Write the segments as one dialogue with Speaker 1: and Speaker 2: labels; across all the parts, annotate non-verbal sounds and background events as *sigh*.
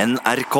Speaker 1: NRK.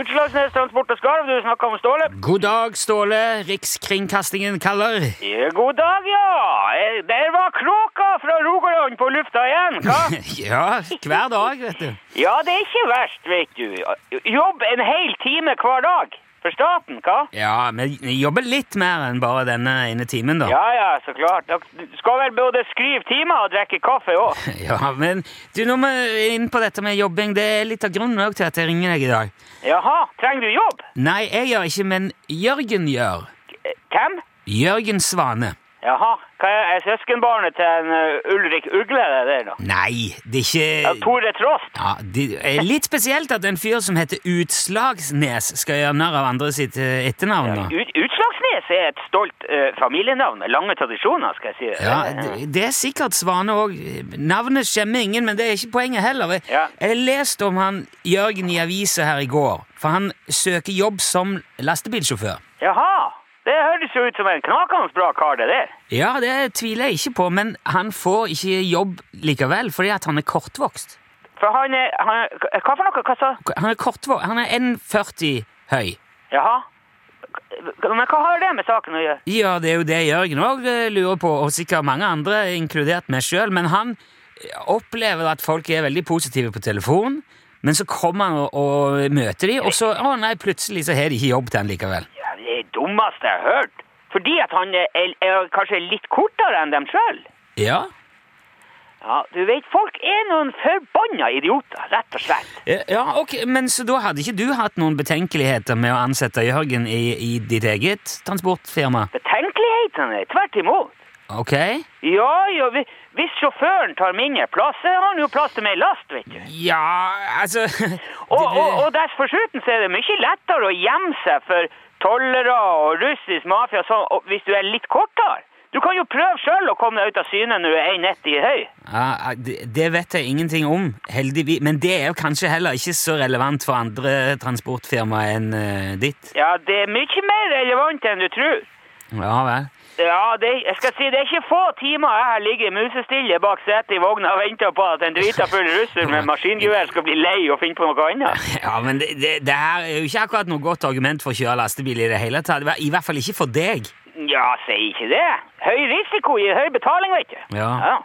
Speaker 2: Utslagsnes Transport og Skarv, du snakker om Ståle.
Speaker 3: God dag, Ståle. Rikskringkastingen kaller.
Speaker 2: Ja, God dag, ja. Eh, Der var Kråka fra Rogaland på lufta igjen,
Speaker 3: *laughs*
Speaker 2: hva?
Speaker 3: Ja, hver dag, vet du.
Speaker 2: Ja, det er ikke verst, vet du. Jobb en hel time hver dag. For staten, hva?
Speaker 3: Ja, men vi jobber litt mer enn bare denne ene timen, da.
Speaker 2: Ja, ja, så klart. Du skal vel både skrive timer og drikke kaffe
Speaker 3: *laughs*
Speaker 2: òg.
Speaker 3: *laughs* Ja, men du, nå må vi inn på dette med jobbing. Det er litt av grunnen også til at jeg ringer deg i dag.
Speaker 2: Jaha, trenger du jobb?
Speaker 3: Nei, jeg gjør ikke, men Jørgen gjør.
Speaker 2: Eh, Hvem?
Speaker 3: Jørgen Svane.
Speaker 2: Jaha, hva er, er søskenbarnet til en eh, Ulrik Ugle, det der, da?
Speaker 3: Nei, det er
Speaker 2: Ja,
Speaker 3: ikke
Speaker 2: Tore Trost?
Speaker 3: ja, det er Litt spesielt at en fyr som heter Utslagsnes, skal gjøre narr av andre sitt eh, etternavn. da.
Speaker 2: Ut, Utslagsnes er et stolt eh, familienavn. Lange tradisjoner, skal jeg si. Eh,
Speaker 3: Ja, det, det er sikkert Svane òg. Navnet skjemmer ingen, men det er ikke poenget heller.
Speaker 2: Ja.
Speaker 3: Jeg leste om han Jørgen i avisa her i går, for han søker jobb som lastebilsjåfør.
Speaker 2: Jaha, det høres jo ut som en knakende bra kar det der.
Speaker 3: Ja, det tviler jeg ikke på, men han får ikke jobb likevel fordi at han er kortvokst.
Speaker 2: For han er, han er Hva for noe, hva sa
Speaker 3: Han er kortvokst, han er 1,40 høy.
Speaker 2: Jaha. Men hva har det med saken å gjøre?
Speaker 3: Ja, det er jo det Jørgen òg lurer på, og sikkert mange andre, inkludert meg sjøl. Men han eh, opplever at folk er veldig positive på telefon, men så kommer han og, og møter de, og så å nei, plutselig så har de ikke jobb til han likevel.
Speaker 2: Ja, det er det dummeste jeg har hørt. Fordi at han er, er, er kanskje litt kortere enn dem sjøl.
Speaker 3: Ja,
Speaker 2: Ja, du vet, folk er noen forbanna idioter, rett og slett.
Speaker 3: ja ok, Men så da hadde ikke du hatt noen betenkeligheter med å ansette Jørgen i, i ditt eget transportfirma?
Speaker 2: Betenkelighetene, tvert imot.
Speaker 3: Ok?
Speaker 2: Ja, ja, vi- hvis sjåføren tar mindre plass, så har han jo plass til mer last, vet du.
Speaker 3: Ja, altså *laughs*
Speaker 2: Og, og, og dessuten så er det mye lettere å gjemme seg for tollere og russisk mafia og sånn, og hvis du er litt kortere. Du kan jo prøve sjøl å komme deg ut av syne når du er 1,90 høy.
Speaker 3: Ja, det, det vet jeg ingenting om, heldigvis. Men det er jo kanskje heller ikke så relevant for andre transportfirmaer enn eh, ditt.
Speaker 2: Ja, det er mye mer relevant enn du tror.
Speaker 3: Ja vel.
Speaker 2: Ja, det, jeg skal si, det er ikke få timer jeg har ligget musestille bak setet i vogna og venta på at en drita full russer med maskingevær skal bli lei og finne på noe annet.
Speaker 3: Ja, men det, det, det her er jo ikke akkurat noe godt argument for å kjøre lastebil i det hele tatt. I hvert fall ikke for deg.
Speaker 2: Ja, si ikke det. Høy risiko gir høy betaling, vet du.
Speaker 3: Ja.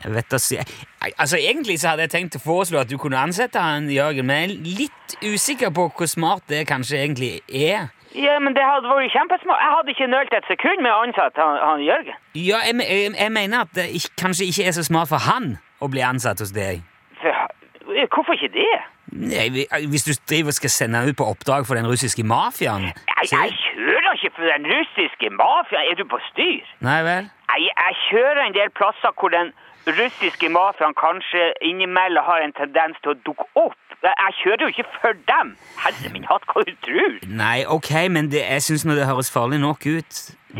Speaker 3: Jeg vet å si. Nei, Altså, Egentlig så hadde jeg tenkt å foreslå at du kunne ansette han, Jørgen, men jeg er litt usikker på hvor smart det kanskje egentlig er.
Speaker 2: Ja, men det hadde vært kjempesmart. Jeg hadde ikke nølt et sekund med å ansette han, han Jørgen.
Speaker 3: Ja, jeg, me- jeg, jeg mener at det ikk- kanskje ikke er så smart for han å bli ansatt hos deg.
Speaker 2: For, hvorfor ikke det?
Speaker 3: Nei, vi- Hvis du driver og skal sende han ut på oppdrag for den russiske mafiaen
Speaker 2: Jeg,
Speaker 3: så-
Speaker 2: jeg kjører ikke for den russiske mafiaen. Er du på styr?
Speaker 3: Nei vel?
Speaker 2: Jeg, jeg kjører en del plasser hvor den russiske mafiaen kanskje innimellom har en tendens til å dukke opp. Jeg, jeg kjører jo ikke for dem. Herre min hatt, hva du tror?
Speaker 3: Nei, ok, men det, jeg syns nå det høres farlig nok ut.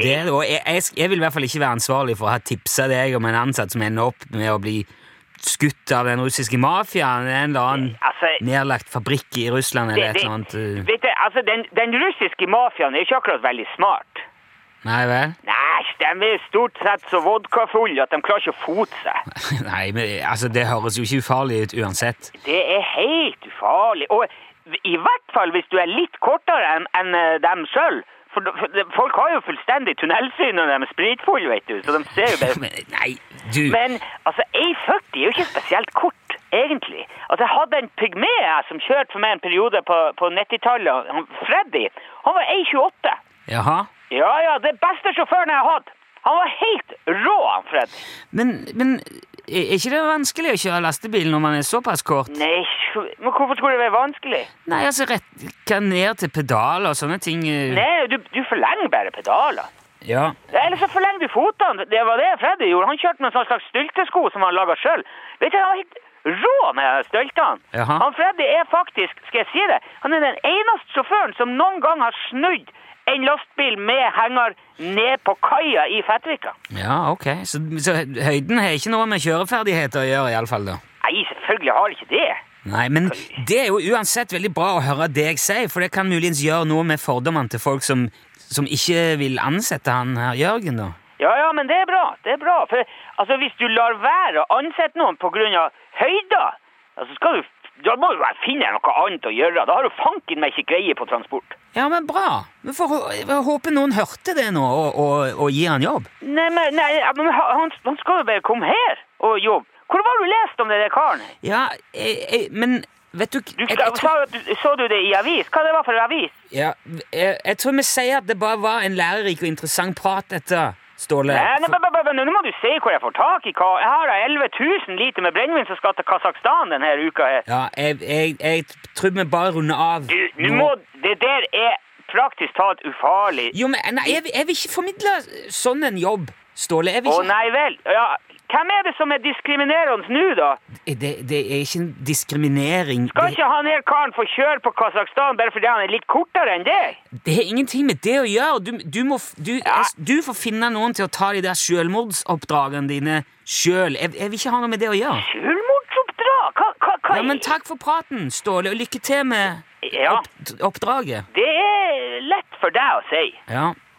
Speaker 3: Det, og jeg, jeg, sk- jeg vil i hvert fall ikke være ansvarlig for å ha tipsa deg om en ansatt som ender opp med å bli skutt av den russiske mafiaen i en eller annen
Speaker 2: Altså,
Speaker 3: nedlagt fabrikk i Russland eller et eller annet. uh,
Speaker 2: vet du, altså, den, den russiske mafiaen er ikke akkurat veldig smart.
Speaker 3: Nei vel? *laughs*
Speaker 2: Nei, de er stort sett så vodkafulle at de klarer ikke å fote seg.
Speaker 3: Nei, men altså, det høres jo ikke ufarlig ut uansett.
Speaker 2: Det er helt ufarlig. Og i hvert fall hvis du er litt kortere enn enn, eh, dem sjøl. For, de- for de- folk har jo fullstendig tunnelsyn når de er spritfulle, vet du. Så de ser jo bare
Speaker 3: *laughs* Men, nei, du
Speaker 2: Men altså, A40 er jo ikke spesielt kort, egentlig. Altså, Jeg hadde en pygme jeg, som kjørte for meg en periode på, på 90-tallet. han Freddy. Han var A28.
Speaker 3: Jaha?
Speaker 2: Ja ja, det beste sjåføren jeg har hatt. Han var helt rå, han Freddy.
Speaker 3: Men, men er ikke det vanskelig å kjøre lastebil når man er såpass kort?
Speaker 2: Nei, men hvorfor skulle det være vanskelig?
Speaker 3: Nei, altså rekke ned til pedaler og sånne ting. eh,
Speaker 2: Nei, du, du forlenger bare pedalene.
Speaker 3: Ja.
Speaker 2: Eller så forlenger du fotene. Det var det Freddy gjorde. Han kjørte med en sånn slags styltesko som han laga sjøl. Vet du, han var helt rå med støltene.
Speaker 3: Jaha.
Speaker 2: Han Freddy er faktisk, skal jeg si det, han er den eneste sjåføren som noen gang har snudd en lastebil med henger ned på kaia i Fettvika.
Speaker 3: ja, ok. Så, så høyden har ikke noe med kjøreferdigheter å gjøre, iallfall, da.
Speaker 2: Nei, selvfølgelig har det ikke det.
Speaker 3: Nei, men det er jo uansett veldig bra å høre deg si, for det kan muligens gjøre noe med fordommene til folk som, som ikke vil ansette han her Jørgen, da.
Speaker 2: Ja, ja, men det er bra. Det er bra. For altså, hvis du lar være å ansette noen pga. høyda, altså, skal du, da må du vel finne noe annet å gjøre. Da har du fanken meg ikke greie på transport.
Speaker 3: Ja, men bra. Vi får hå- vi håper noen hørte det nå og, og, og gir han jobb.
Speaker 2: Nei, men, nei, ja, men han, han skal jo bare komme her og jobbe. Hvor var du lest om den der karen?
Speaker 3: Ja, jeg, jeg, men vet du
Speaker 2: Du,
Speaker 3: jeg, jeg,
Speaker 2: sa, jo
Speaker 3: tror,
Speaker 2: at du- så du det i avis? Hva det var for avis?
Speaker 3: ja, jeg, jeg tror vi sier at det bare var en lærerik og interessant prat, dette, Ståle.
Speaker 2: Nei, nei, men- men- men Nå må du se hvor jeg får tak i hva. Jeg har da 11 000 liter med brennevin som skal til Kasakhstan denne uka her.
Speaker 3: Ja, jeg, jeg, jeg tror vi bare runder av.
Speaker 2: Du, nå
Speaker 3: nå.
Speaker 2: må, det der er praktisk talt ufarlig.
Speaker 3: Jo, men nei, jeg, vil- jeg vil ikke formidle sånn en jobb, Ståle. Jeg
Speaker 2: Å
Speaker 3: vil ikke,
Speaker 2: nei vel. Ja, hvem er det som er diskriminerende nå, da?
Speaker 3: det, det er ikke en diskriminering.
Speaker 2: Skal
Speaker 3: Det,
Speaker 2: ikke han her karen få kjøre på Kasakhstan bare fordi han er litt kortere enn deg?
Speaker 3: det har ingenting med det å gjøre. Du, du, må, f- du,
Speaker 2: Ja.
Speaker 3: jeg- du får finne noen til å ta de der selvmordsoppdragene dine sjøl. Jeg, jeg vil ikke ha noe med det å gjøre.
Speaker 2: Selvmordsoppdrag? Hva, hva, hva?
Speaker 3: Ja, men Takk for praten, Ståle, og lykke til med
Speaker 2: Ja.
Speaker 3: opp, oppdraget.
Speaker 2: Det er lett for deg å si.
Speaker 3: Ja.